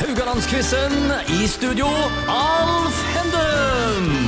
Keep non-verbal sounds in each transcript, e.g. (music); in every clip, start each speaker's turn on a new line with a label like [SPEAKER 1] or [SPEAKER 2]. [SPEAKER 1] Haugalandsquizen i studio, Alf Henden!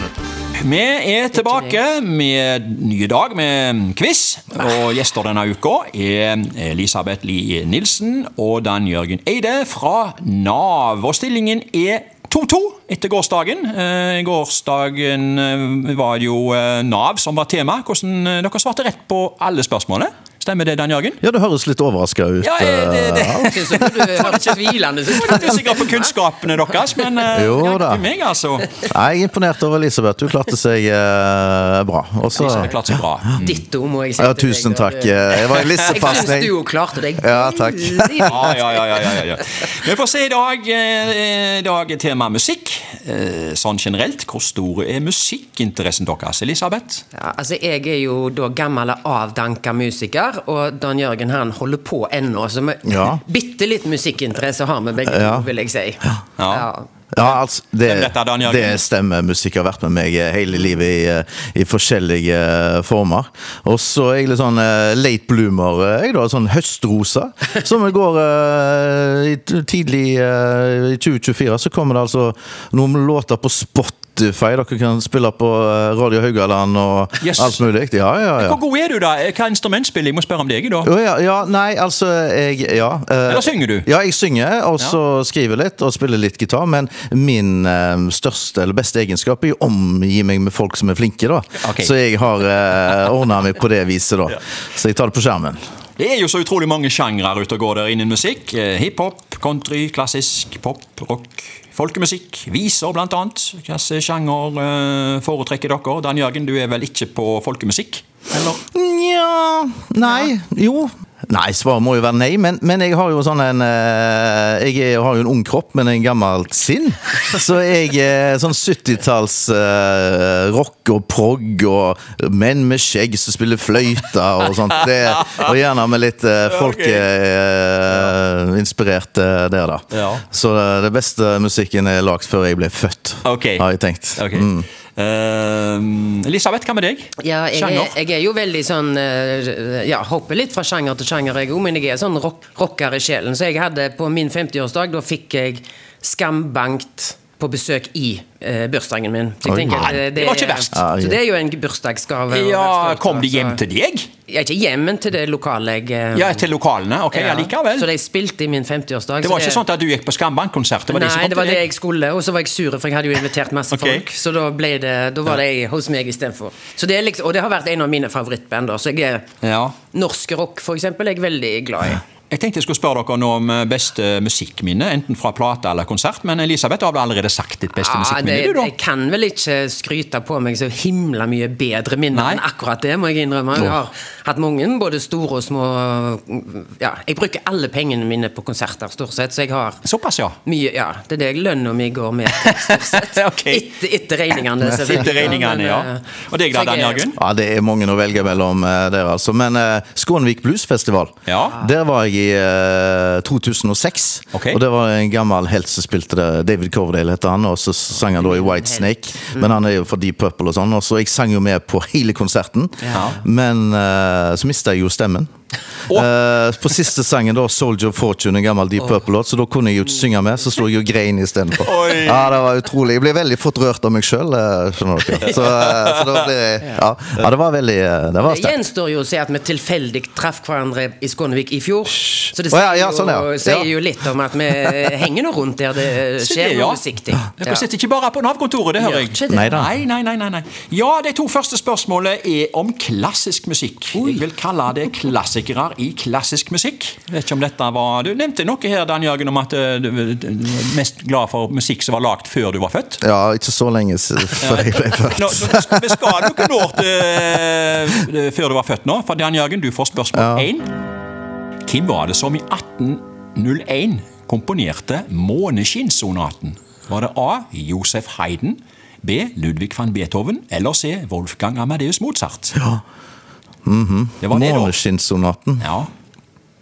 [SPEAKER 2] Vi er tilbake med nye dag med quiz.
[SPEAKER 3] Ah.
[SPEAKER 2] Og gjester denne uka er Elisabeth Lie Nilsen og Dan Jørgen Eide fra Nav. Og stillingen er 2-2 etter gårsdagen. Eh, Gårsdagen eh, var jo eh, Nav som var tema. Hvordan eh, dere svarte rett på alle spørsmålene. Stemmer det, Dan Jørgen?
[SPEAKER 3] Ja, det høres litt overraska ut.
[SPEAKER 2] Ja, eh, det, det.
[SPEAKER 3] eh,
[SPEAKER 1] Jeg synes du var tvilende.
[SPEAKER 2] Jeg er ikke sikker på kunnskapene deres, men eh,
[SPEAKER 3] (laughs) Jo
[SPEAKER 2] det er
[SPEAKER 3] da.
[SPEAKER 2] ikke meg, altså.
[SPEAKER 3] Nei, jeg er imponert over Elisabeth. Hun klarte seg eh, bra. Og så-
[SPEAKER 2] Lisa har klart seg bra.
[SPEAKER 1] (laughs) Ditto, må jeg si.
[SPEAKER 3] ja,
[SPEAKER 1] til deg,
[SPEAKER 3] tusen
[SPEAKER 1] da.
[SPEAKER 3] takk. eh, Det var en
[SPEAKER 1] Jeg syns du
[SPEAKER 3] lissepasning.
[SPEAKER 1] jo klarte deg.
[SPEAKER 3] Ja, takk.
[SPEAKER 1] veldig bra.
[SPEAKER 3] (laughs)
[SPEAKER 2] Ah, Ja, ja, ja, ja, ja, ja. Vi får se i dag. eh, I dag er tema musikk. Eh, Sånn generelt, hvor stor er musikkinteressen deres, Elisabeth?
[SPEAKER 1] Ja, altså, jeg er jo da gammel avdanka musiker, og Dan Jørgen han holder på ennå, så vi
[SPEAKER 3] Ja.
[SPEAKER 1] bitte litt musikkinteresse har vi begge
[SPEAKER 3] Ja.
[SPEAKER 1] to, vil jeg si.
[SPEAKER 2] Ja.
[SPEAKER 3] Ja, altså, det,
[SPEAKER 2] Dette er Dan Jørgen.
[SPEAKER 3] det stemmer. Musikk har vært med meg eh, hele livet i, eh, i forskjellige eh, former. Og så er jeg litt sånn eh, late bloomer, eh, jeg da. Sånn
[SPEAKER 2] (laughs)
[SPEAKER 3] høstrosa. Som det går eh, i t- tidlig eh, i 2024, så kommer det altså noen låter på Spotify dere kan spille på eh, Radio Haugaland og
[SPEAKER 2] Yes.
[SPEAKER 3] alt mulig. Ja, ja, ja.
[SPEAKER 2] Hvor god er du, da? Eh, Hva instrument spiller jeg? Jeg må spørre om deg, da.
[SPEAKER 3] Å, ja, ja, nei, altså jeg, ja, eh,
[SPEAKER 2] Eller synger du?
[SPEAKER 3] Ja, jeg synger, og så skriver litt, og spiller litt gitar. Men min eh, største eller beste egenskap er jo å omgi meg med folk som er flinke, da.
[SPEAKER 2] Ok.
[SPEAKER 3] Så jeg har uh, ordna meg på det viset, da. Så jeg tar det på skjermen.
[SPEAKER 2] Det er jo så utrolig mange sjangre ute og går der innen musikk. Eh, Hiphop, country, klassisk, pop, rock, folkemusikk, viser blant annet. Hvilken sjanger eh, foretrekker dere? Dan Jørgen, du er vel ikke på folkemusikk? Eller?
[SPEAKER 3] Nja Nei. Jo. Nei, svaret må jo være nei, men, men jeg har jo sånn en eh, Jeg er, har jo en ung kropp, men en gammelt sinn. Så jeg er sånn 70-talls eh, rock og prog og menn med skjegg som spiller fløyte og sånt. Det, og gjerne med litt eh, folkeinspirert eh, der, da.
[SPEAKER 2] Ja.
[SPEAKER 3] Så eh, det beste musikken er lagd før jeg ble født,
[SPEAKER 2] Ok.
[SPEAKER 3] har jeg tenkt.
[SPEAKER 2] Ok.
[SPEAKER 3] Mm.
[SPEAKER 2] Eh, Elisabeth, hva med deg?
[SPEAKER 1] Ja, jeg,
[SPEAKER 2] Sjanger?
[SPEAKER 1] er, jeg er jo veldig sånn eh, Ja, hopper litt fra sjanger til sjanger, jeg òg, men jeg er sånn rock, rocker i sjelen. Så jeg hadde på min 50-årsdag, da fikk jeg skambankt på besøk i eh, bursdagen min. Så jeg
[SPEAKER 3] Oi.
[SPEAKER 1] tenker,
[SPEAKER 3] Nei,
[SPEAKER 1] eh,
[SPEAKER 2] det var ikke
[SPEAKER 1] er-
[SPEAKER 2] verst.
[SPEAKER 1] Så det er jo en bursdagsgave. å
[SPEAKER 2] Ja,
[SPEAKER 1] være stolt
[SPEAKER 2] Kom
[SPEAKER 1] av,
[SPEAKER 2] de hjem
[SPEAKER 1] så-
[SPEAKER 2] til deg?
[SPEAKER 1] Ja, ikke hjem, men til det lokale jeg eh,
[SPEAKER 2] Ja, til lokalene. Ok, ja,
[SPEAKER 1] ja.
[SPEAKER 2] likevel.
[SPEAKER 1] Så de spilte i min 50-årsdag.
[SPEAKER 2] Det
[SPEAKER 1] så
[SPEAKER 2] var ikke sånn at du gikk på Skambankkonsert? Det var de som
[SPEAKER 1] Nei,
[SPEAKER 2] kom
[SPEAKER 1] det var
[SPEAKER 2] til
[SPEAKER 1] det
[SPEAKER 2] deg.
[SPEAKER 1] jeg skulle, og så var jeg sur, for jeg hadde jo invitert masse
[SPEAKER 2] Ok.
[SPEAKER 1] folk. Så da, ble det, da var de hos meg istedenfor. Så det er liksom, og det har vært en av mine favorittband. da, Så jeg er
[SPEAKER 2] Ja.
[SPEAKER 1] norsk rock, for eksempel, er jeg veldig glad i.
[SPEAKER 2] Jeg tenkte jeg skulle spørre dere nå om eh, beste musikkminne, enten fra plate eller konsert, men Elisabeth du har vel allerede sagt ditt beste
[SPEAKER 1] Ja, Ah, det,
[SPEAKER 2] musikkminne, du,
[SPEAKER 1] jeg
[SPEAKER 2] da?
[SPEAKER 1] kan vel ikke skryte på meg så himla mye bedre minner
[SPEAKER 2] Nei.
[SPEAKER 1] enn akkurat det, må jeg innrømme. Jeg har hatt mange, både store og små Ja, jeg bruker alle pengene mine på konserter, stort sett, så jeg har
[SPEAKER 2] Såpass, ja.
[SPEAKER 1] mye Ja, det er det jeg- lønna mi går med, til, stort sett.
[SPEAKER 3] (laughs)
[SPEAKER 2] Ok.
[SPEAKER 1] Etter, etter regningene, selvfølgelig.
[SPEAKER 2] Etter regningene,
[SPEAKER 1] Men,
[SPEAKER 2] ja.
[SPEAKER 1] eh,
[SPEAKER 2] Og deg da,
[SPEAKER 1] så jeg
[SPEAKER 2] Dan
[SPEAKER 1] er-
[SPEAKER 2] Jørgen?
[SPEAKER 3] Ja, det er mange å velge mellom eh, der, altså. Men eh, Skånevik Bluesfestival,
[SPEAKER 2] Ja.
[SPEAKER 3] der var jeg i eh, 2006.
[SPEAKER 2] Ok.
[SPEAKER 3] Og det var en gammel helt som spilte det. David Coverdale heter han, og så sang han da i White Snake. Men han er jo fra Deep Purple og sånn, og så jeg sang jo med på hele konserten.
[SPEAKER 2] Ja.
[SPEAKER 3] Men eh, så mista jeg jo stemmen. Eh, på siste sangen, da, 'Soldier of Fortune', en gammel Deep Purple-låt, så da kunne jeg jo ikke synge med, så sto jeg og grein istedenfor.
[SPEAKER 2] Oi.
[SPEAKER 3] Ja, det var utrolig. Jeg ble veldig fort rørt av meg sjøl, skjønner dere. Så, eh, så da ble jeg Ja, ja det var veldig eh, Det var
[SPEAKER 1] Det
[SPEAKER 3] sterkt.
[SPEAKER 1] gjenstår jo å se at vi tilfeldig traff hverandre i Skånevik i fjor. Så det
[SPEAKER 3] Å
[SPEAKER 1] sier,
[SPEAKER 3] ja, ja, sånn, ja.
[SPEAKER 1] jo,
[SPEAKER 3] Ja.
[SPEAKER 1] sier jo litt om at vi henger nå rundt der det
[SPEAKER 3] (laughs)
[SPEAKER 2] Så
[SPEAKER 1] skjer
[SPEAKER 2] det,
[SPEAKER 1] noe
[SPEAKER 2] ja.
[SPEAKER 1] musikk.
[SPEAKER 2] Dere sitter ikke bare på Nav-kontoret, det
[SPEAKER 1] Gjør
[SPEAKER 2] hører jeg.
[SPEAKER 1] ikke det.
[SPEAKER 3] Neida.
[SPEAKER 2] Nei, nei, nei, nei, nei. Ja, de to første spørsmålene er om klassisk musikk. Jeg vil kalle det klassikere i klassisk musikk. Vet ikke om dette var... Du nevnte noe her, Dan Jørgen, om at eh, du du var mest glad for musikk som var lagt før du var født.
[SPEAKER 3] Ja, ikke så lenge s- før jeg ble født.
[SPEAKER 2] Nå, nå skal vi skal noen år til, eh, før du var født nå, for Dan Jørgen, du får spørsmål én. Hvem var det som i 1801 komponerte Måneskinnssonaten? Var det A. Josef Haydn, B. Ludvig van Beethoven eller C. Wolfgang Amadeus Mozart? Ja.
[SPEAKER 3] Mhm.
[SPEAKER 2] Det var det, da.
[SPEAKER 3] Måneskinnssonaten.
[SPEAKER 2] Ja,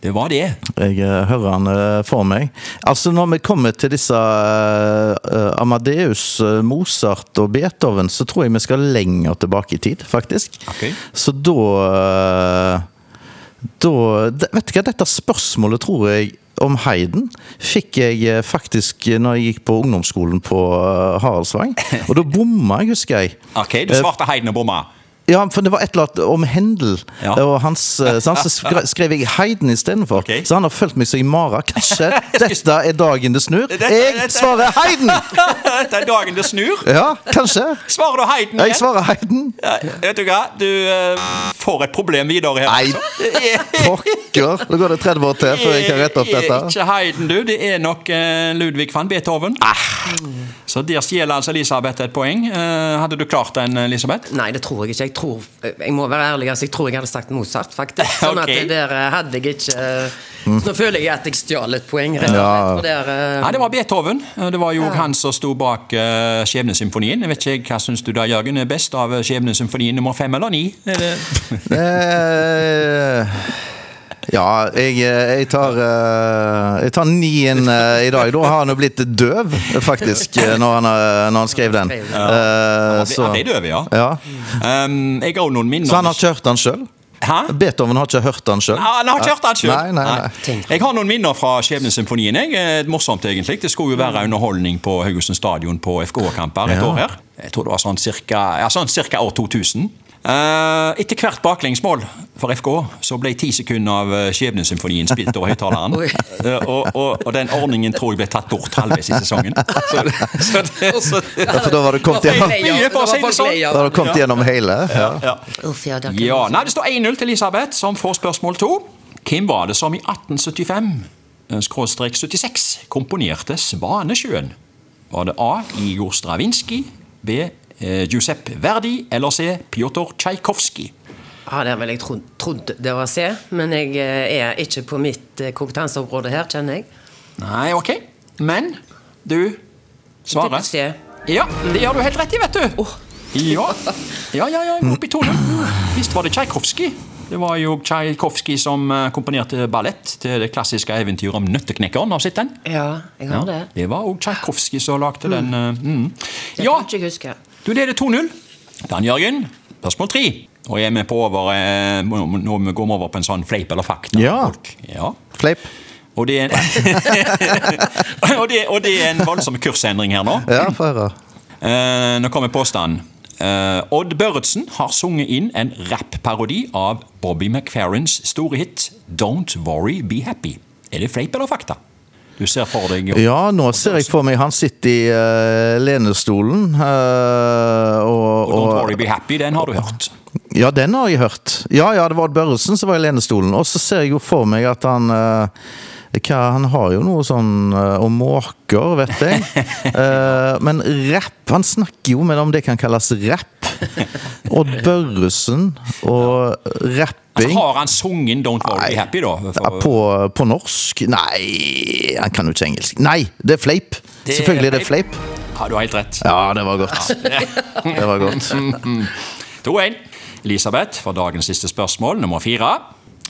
[SPEAKER 2] det var det.
[SPEAKER 3] Jeg eh, hører han eh, for meg. Altså, når vi kommer til disse eh, eh, Amadeus, eh, Mozart og Beethoven, så tror jeg vi skal lenger tilbake i tid, faktisk.
[SPEAKER 2] Ok.
[SPEAKER 3] Så da eh, Da de- Vet du hva, dette spørsmålet tror jeg om Heiden fikk jeg eh, faktisk eh, når jeg gikk på ungdomsskolen på eh,
[SPEAKER 2] (laughs)
[SPEAKER 3] Haraldsvang. Og da bomma jeg, husker jeg.
[SPEAKER 2] Ok,
[SPEAKER 3] Eh.
[SPEAKER 2] du svarte Heiden og bomma. (laughs)
[SPEAKER 3] Ja, for det var et eller annet om Hendel
[SPEAKER 2] Ja.
[SPEAKER 3] og hans eh, Så han så skre- skrev jeg Heiden istedenfor.
[SPEAKER 2] Ok.
[SPEAKER 3] Så han har fulgt meg så i mara.
[SPEAKER 2] (laughs)
[SPEAKER 3] Kanskje dette er dagen det snur?
[SPEAKER 2] Dette-
[SPEAKER 3] Jeg
[SPEAKER 2] dette-
[SPEAKER 3] svarer
[SPEAKER 2] (laughs)
[SPEAKER 3] Heiden!
[SPEAKER 2] Det er dagen det snur.
[SPEAKER 3] Ja, kanskje.
[SPEAKER 2] Svarer du Heiden?
[SPEAKER 3] Jeg
[SPEAKER 2] igjen?
[SPEAKER 3] svarer Heiden.
[SPEAKER 2] Ja, vet du hva, du eh, får et problem videre her.
[SPEAKER 3] Nei, pokker! Nå går det 30 år til før jeg kan rette opp
[SPEAKER 2] Det er Eh,
[SPEAKER 3] dette.
[SPEAKER 2] Ikke Heiden, du. Det er nok eh, Ludvig van Beethoven.
[SPEAKER 3] Ah.
[SPEAKER 2] Så der stjeler altså Elisabeth et poeng. Eh, hadde du klart den, Elisabeth?
[SPEAKER 1] Nei, det tror jeg ikke. Jeg, tror, jeg må være ærlig, altså, jeg tror jeg hadde sagt Mozart,
[SPEAKER 3] (laughs)
[SPEAKER 1] faktisk. Sånn
[SPEAKER 2] Ok.
[SPEAKER 1] at det der eh, hadde jeg ikke eh, Så nå føler jeg at jeg stjal et poeng, rett og slett.
[SPEAKER 3] Mm. Ja.
[SPEAKER 1] For der, eh,
[SPEAKER 2] Nei, det var Beethoven. Eh, Det var jo han som sto bak eh, Skjebnesymfonien. Jeg vet ikke, Hva syns du da, Jørgen? Er best av eh, Skjebnesymfonien nummer fem eller ni? Er det-
[SPEAKER 3] Eh, ja, jeg, jeg tar eh, Jeg tar nien eh, i dag. Da har han jo blitt døv, faktisk, eh, når han, eh, når han skrev den. Eh,
[SPEAKER 2] Han ble-
[SPEAKER 3] så,
[SPEAKER 2] han ble døv, ja.
[SPEAKER 3] ja.
[SPEAKER 2] Um, jeg har jo noen minner
[SPEAKER 3] så han har ikke hørt den sjøl?
[SPEAKER 2] Hæ?
[SPEAKER 3] Beethoven har ikke hørt den sjøl?
[SPEAKER 2] Ja, Han har ikke hørt den sjøl.
[SPEAKER 3] Nei, nei, nei.
[SPEAKER 1] Tenk.
[SPEAKER 2] Jeg har noen minner fra Skjebnesymfonien. jeg. Eh, Morsomt, egentlig. Det skulle jo være underholdning på Haugesund stadion på FK-kamper et
[SPEAKER 3] Mm. Ja.
[SPEAKER 2] år her. Jeg tror det var sånn cirka, ja, sånn cirka år 2000. Eh, etter hvert baklengsmål for FK så ble ti sekunder av eh, Skjebnesymfonien spilt over
[SPEAKER 3] (laughs)
[SPEAKER 2] høyttaleren.
[SPEAKER 1] Oi.
[SPEAKER 2] Eh, og, og, og den ordningen tror jeg ble tatt bort halvveis i
[SPEAKER 3] (laughs)
[SPEAKER 2] sesongen. Så, så, det- så,
[SPEAKER 3] Ja, for da var det kommet
[SPEAKER 1] (laughs) Da var
[SPEAKER 3] gjennom,
[SPEAKER 1] folk lei av-
[SPEAKER 2] Mye
[SPEAKER 1] da
[SPEAKER 2] for å
[SPEAKER 1] var
[SPEAKER 2] si det
[SPEAKER 1] folk
[SPEAKER 2] sånn.
[SPEAKER 1] lei av-
[SPEAKER 3] da har det kommet gjennom hele. Ja.
[SPEAKER 2] ja.
[SPEAKER 1] Uff, ja, da kan
[SPEAKER 2] Ja,
[SPEAKER 1] jeg-
[SPEAKER 2] nei, Det står 1-0 til Elisabeth, som får spørsmål to. Hvem var det som i 1875-76 komponerte 'Svanesjøen'? Var det A. Igor Stravinskij, B. Eh, Giuseppe Verdi eller C. Pjotr Tsjajkovskij?
[SPEAKER 1] Ja, det ville jeg trodd, trodd det var C, men jeg eh, er ikke på mitt eh, kompetanseområde her, kjenner jeg.
[SPEAKER 2] Nei, ok. Men du Oh. svarer.
[SPEAKER 1] Tipper C.
[SPEAKER 2] Ja, det gjør du helt rett i, vet du. Ja, ja, ja, ja opp i 2-0. Visst var det Tsjajkovskij. Det var jo Tsjajkovskij som eh, komponerte ballett til det klassiske eventyret om Nøtteknekkeren. Har du sett den?
[SPEAKER 1] Ja, jeg har det.
[SPEAKER 2] Det var òg Tsjajkovskij som lagde den. eh, Mm.
[SPEAKER 1] Det
[SPEAKER 2] Ja,
[SPEAKER 1] kan ikke jeg huske.
[SPEAKER 2] du leder 2-0. Dan Jørgen, spørsmål tre. Og jeg er med på over, eh, nå nå går vi over på en sånn fleip eller fakta.
[SPEAKER 3] Ja.
[SPEAKER 2] ja.
[SPEAKER 3] Fleip.
[SPEAKER 2] Og det er en, (laughs) og det, og det er en voldsom kursendring her nå.
[SPEAKER 3] Ja, få høre.
[SPEAKER 2] Eh, nå kommer påstanden. Eh, Odd Børretzen har sunget inn en rapparodi av Bobby McFerrins store hit 'Don't Worry Be Happy'. Er det fleip eller fakta? Du ser for deg
[SPEAKER 3] Ja, nå ser jeg for meg han sitter i eh, lenestolen. eh, og,
[SPEAKER 2] Don't
[SPEAKER 3] og,
[SPEAKER 2] Worry Be Happy, den har du hørt.
[SPEAKER 3] ja, den har jeg hørt. Ja, ja, det var Odd Børresen som var i lenestolen. Og så ser jeg jo for meg at han eh, hva, Han har jo noe sånn eh, om måker, vet jeg.
[SPEAKER 2] (laughs)
[SPEAKER 3] Eh, men rapp Han snakker jo med om det kan kalles rapp. Odd Børresen og
[SPEAKER 2] Altså,
[SPEAKER 3] rapping
[SPEAKER 2] har han sunget 'Don't Worry
[SPEAKER 3] Nei.
[SPEAKER 2] Be Happy', da?
[SPEAKER 3] ja, på, på norsk? Nei, han kan jo ikke engelsk. Nei, det er fleip!
[SPEAKER 2] Det er
[SPEAKER 3] Selvfølgelig er det
[SPEAKER 2] fleip.
[SPEAKER 3] fleip.
[SPEAKER 2] Ja, du har helt rett.
[SPEAKER 3] Ja, det var godt. Det var godt.
[SPEAKER 2] 2-1. Elisabeth for dagens siste spørsmål, nummer fire.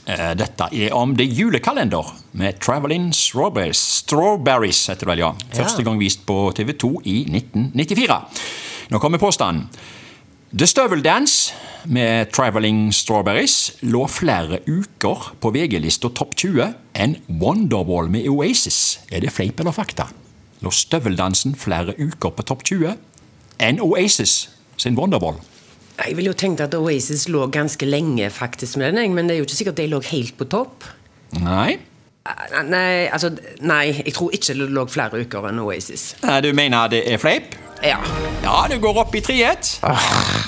[SPEAKER 2] Eh, Dette er om det julekalender med Traveling Strawberries. Strawberries heter det vel, ja. Første gang vist på TV 2 i 1994. Nå kommer påstanden. The Støveldance med Traveling Strawberries lå flere uker på VG-lista topp 20 enn Wonderwall med Oasis. Er det fleip eller fakta? Lå støveldansen flere uker på topp 20 enn Oasis sin Wonderwall?
[SPEAKER 1] Jeg ville jo tenkt at Oasis lå ganske lenge faktisk med den, jeg, men det er jo ikke sikkert de lå helt på topp.
[SPEAKER 2] Nei.
[SPEAKER 1] Eh, Nei, altså, nei, jeg tror ikke det lå flere uker enn Oasis.
[SPEAKER 2] Nei, Du mener det er fleip?
[SPEAKER 1] Ja.
[SPEAKER 2] Ja, du går opp i 3-1.
[SPEAKER 1] Ah.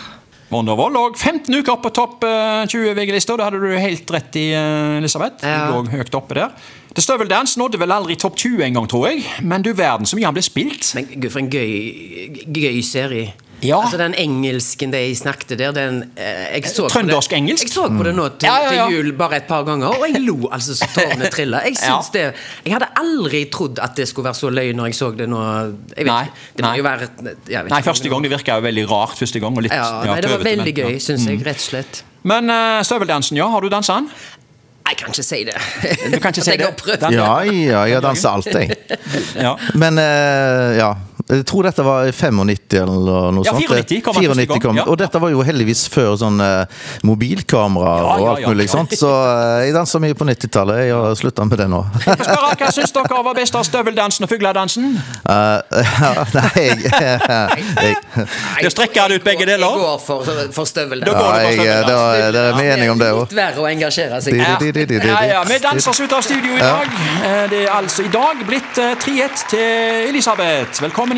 [SPEAKER 2] Wonderwall lå 15 uker på topp eh, 20 VG-lista. Det hadde du helt rett i, eh, Elisabeth.
[SPEAKER 1] Ja.
[SPEAKER 2] Du lå høyt oppe der. The Støveldance nådde vel aldri topp 20 en gang, tror jeg. Men du verden så mye han ble spilt.
[SPEAKER 1] Men gud, for en gøy, gøy serie.
[SPEAKER 2] Ja.
[SPEAKER 1] Altså Den engelsken de snakket der den, eh, jeg så på det-
[SPEAKER 2] Trøndersk-engelsk?
[SPEAKER 1] Jeg så på det nå til,
[SPEAKER 2] Ja, ja, ja.
[SPEAKER 1] til jul bare et par ganger, og jeg lo altså så tårene trilla.
[SPEAKER 2] (laughs)
[SPEAKER 1] Jeg syns det Jeg hadde aldri trodd at det skulle være så løgn når jeg så det nå. Jeg vet,
[SPEAKER 2] Nei,
[SPEAKER 1] ikke. Det må
[SPEAKER 2] nei.
[SPEAKER 1] jo være jeg vet
[SPEAKER 2] Nei,
[SPEAKER 1] ikke.
[SPEAKER 2] første gang det virka jo veldig rart. første gang, og litt
[SPEAKER 1] Ja, nei, det var
[SPEAKER 2] tøvete, men-
[SPEAKER 1] veldig gøy,
[SPEAKER 2] ja.
[SPEAKER 1] syns jeg, rett og slett.
[SPEAKER 2] Men eh, Støveldansen, ja. Har du dansa den?
[SPEAKER 1] Jeg kan ikke si det.
[SPEAKER 2] Du
[SPEAKER 1] (laughs)
[SPEAKER 2] kan ikke si
[SPEAKER 1] At jeg
[SPEAKER 2] det.
[SPEAKER 1] har prøvd.
[SPEAKER 2] Den-
[SPEAKER 3] Ja, ja, jeg danser alt, jeg.
[SPEAKER 2] Ja.
[SPEAKER 3] Men eh, ja. Jeg tror dette var i 95 eller noe
[SPEAKER 2] Ja,
[SPEAKER 3] sånt.
[SPEAKER 2] 94 kom han første gang, ja.
[SPEAKER 3] Og dette var jo heldigvis før sånn eh, mobilkamera
[SPEAKER 2] Ja,
[SPEAKER 3] og
[SPEAKER 2] ja,
[SPEAKER 3] alt
[SPEAKER 2] ja,
[SPEAKER 3] mulig
[SPEAKER 2] ja.
[SPEAKER 3] sånt. Så eh, jeg dansa mye på 90-tallet. Jeg har slutta med det nå. (laughs)
[SPEAKER 2] Jeg spør dere, Hva syns dere var best av støveldansen og fugledansen?
[SPEAKER 3] Eh, nei, (laughs) jeg, jeg,
[SPEAKER 2] Det strekker ut begge deler.
[SPEAKER 1] Jeg går for, for støvel. der.
[SPEAKER 2] Da går
[SPEAKER 3] ja, jeg eh, det var, det er vi enige om det
[SPEAKER 1] litt
[SPEAKER 3] òg.
[SPEAKER 1] verre å engasjere seg.
[SPEAKER 2] Ja,
[SPEAKER 3] Di, di, di, di, di.
[SPEAKER 2] ja, ja, vi danser oss ut av studio i dag. Eh, Det er altså i dag blitt eh, 3-1 til Elisabeth. Velkommen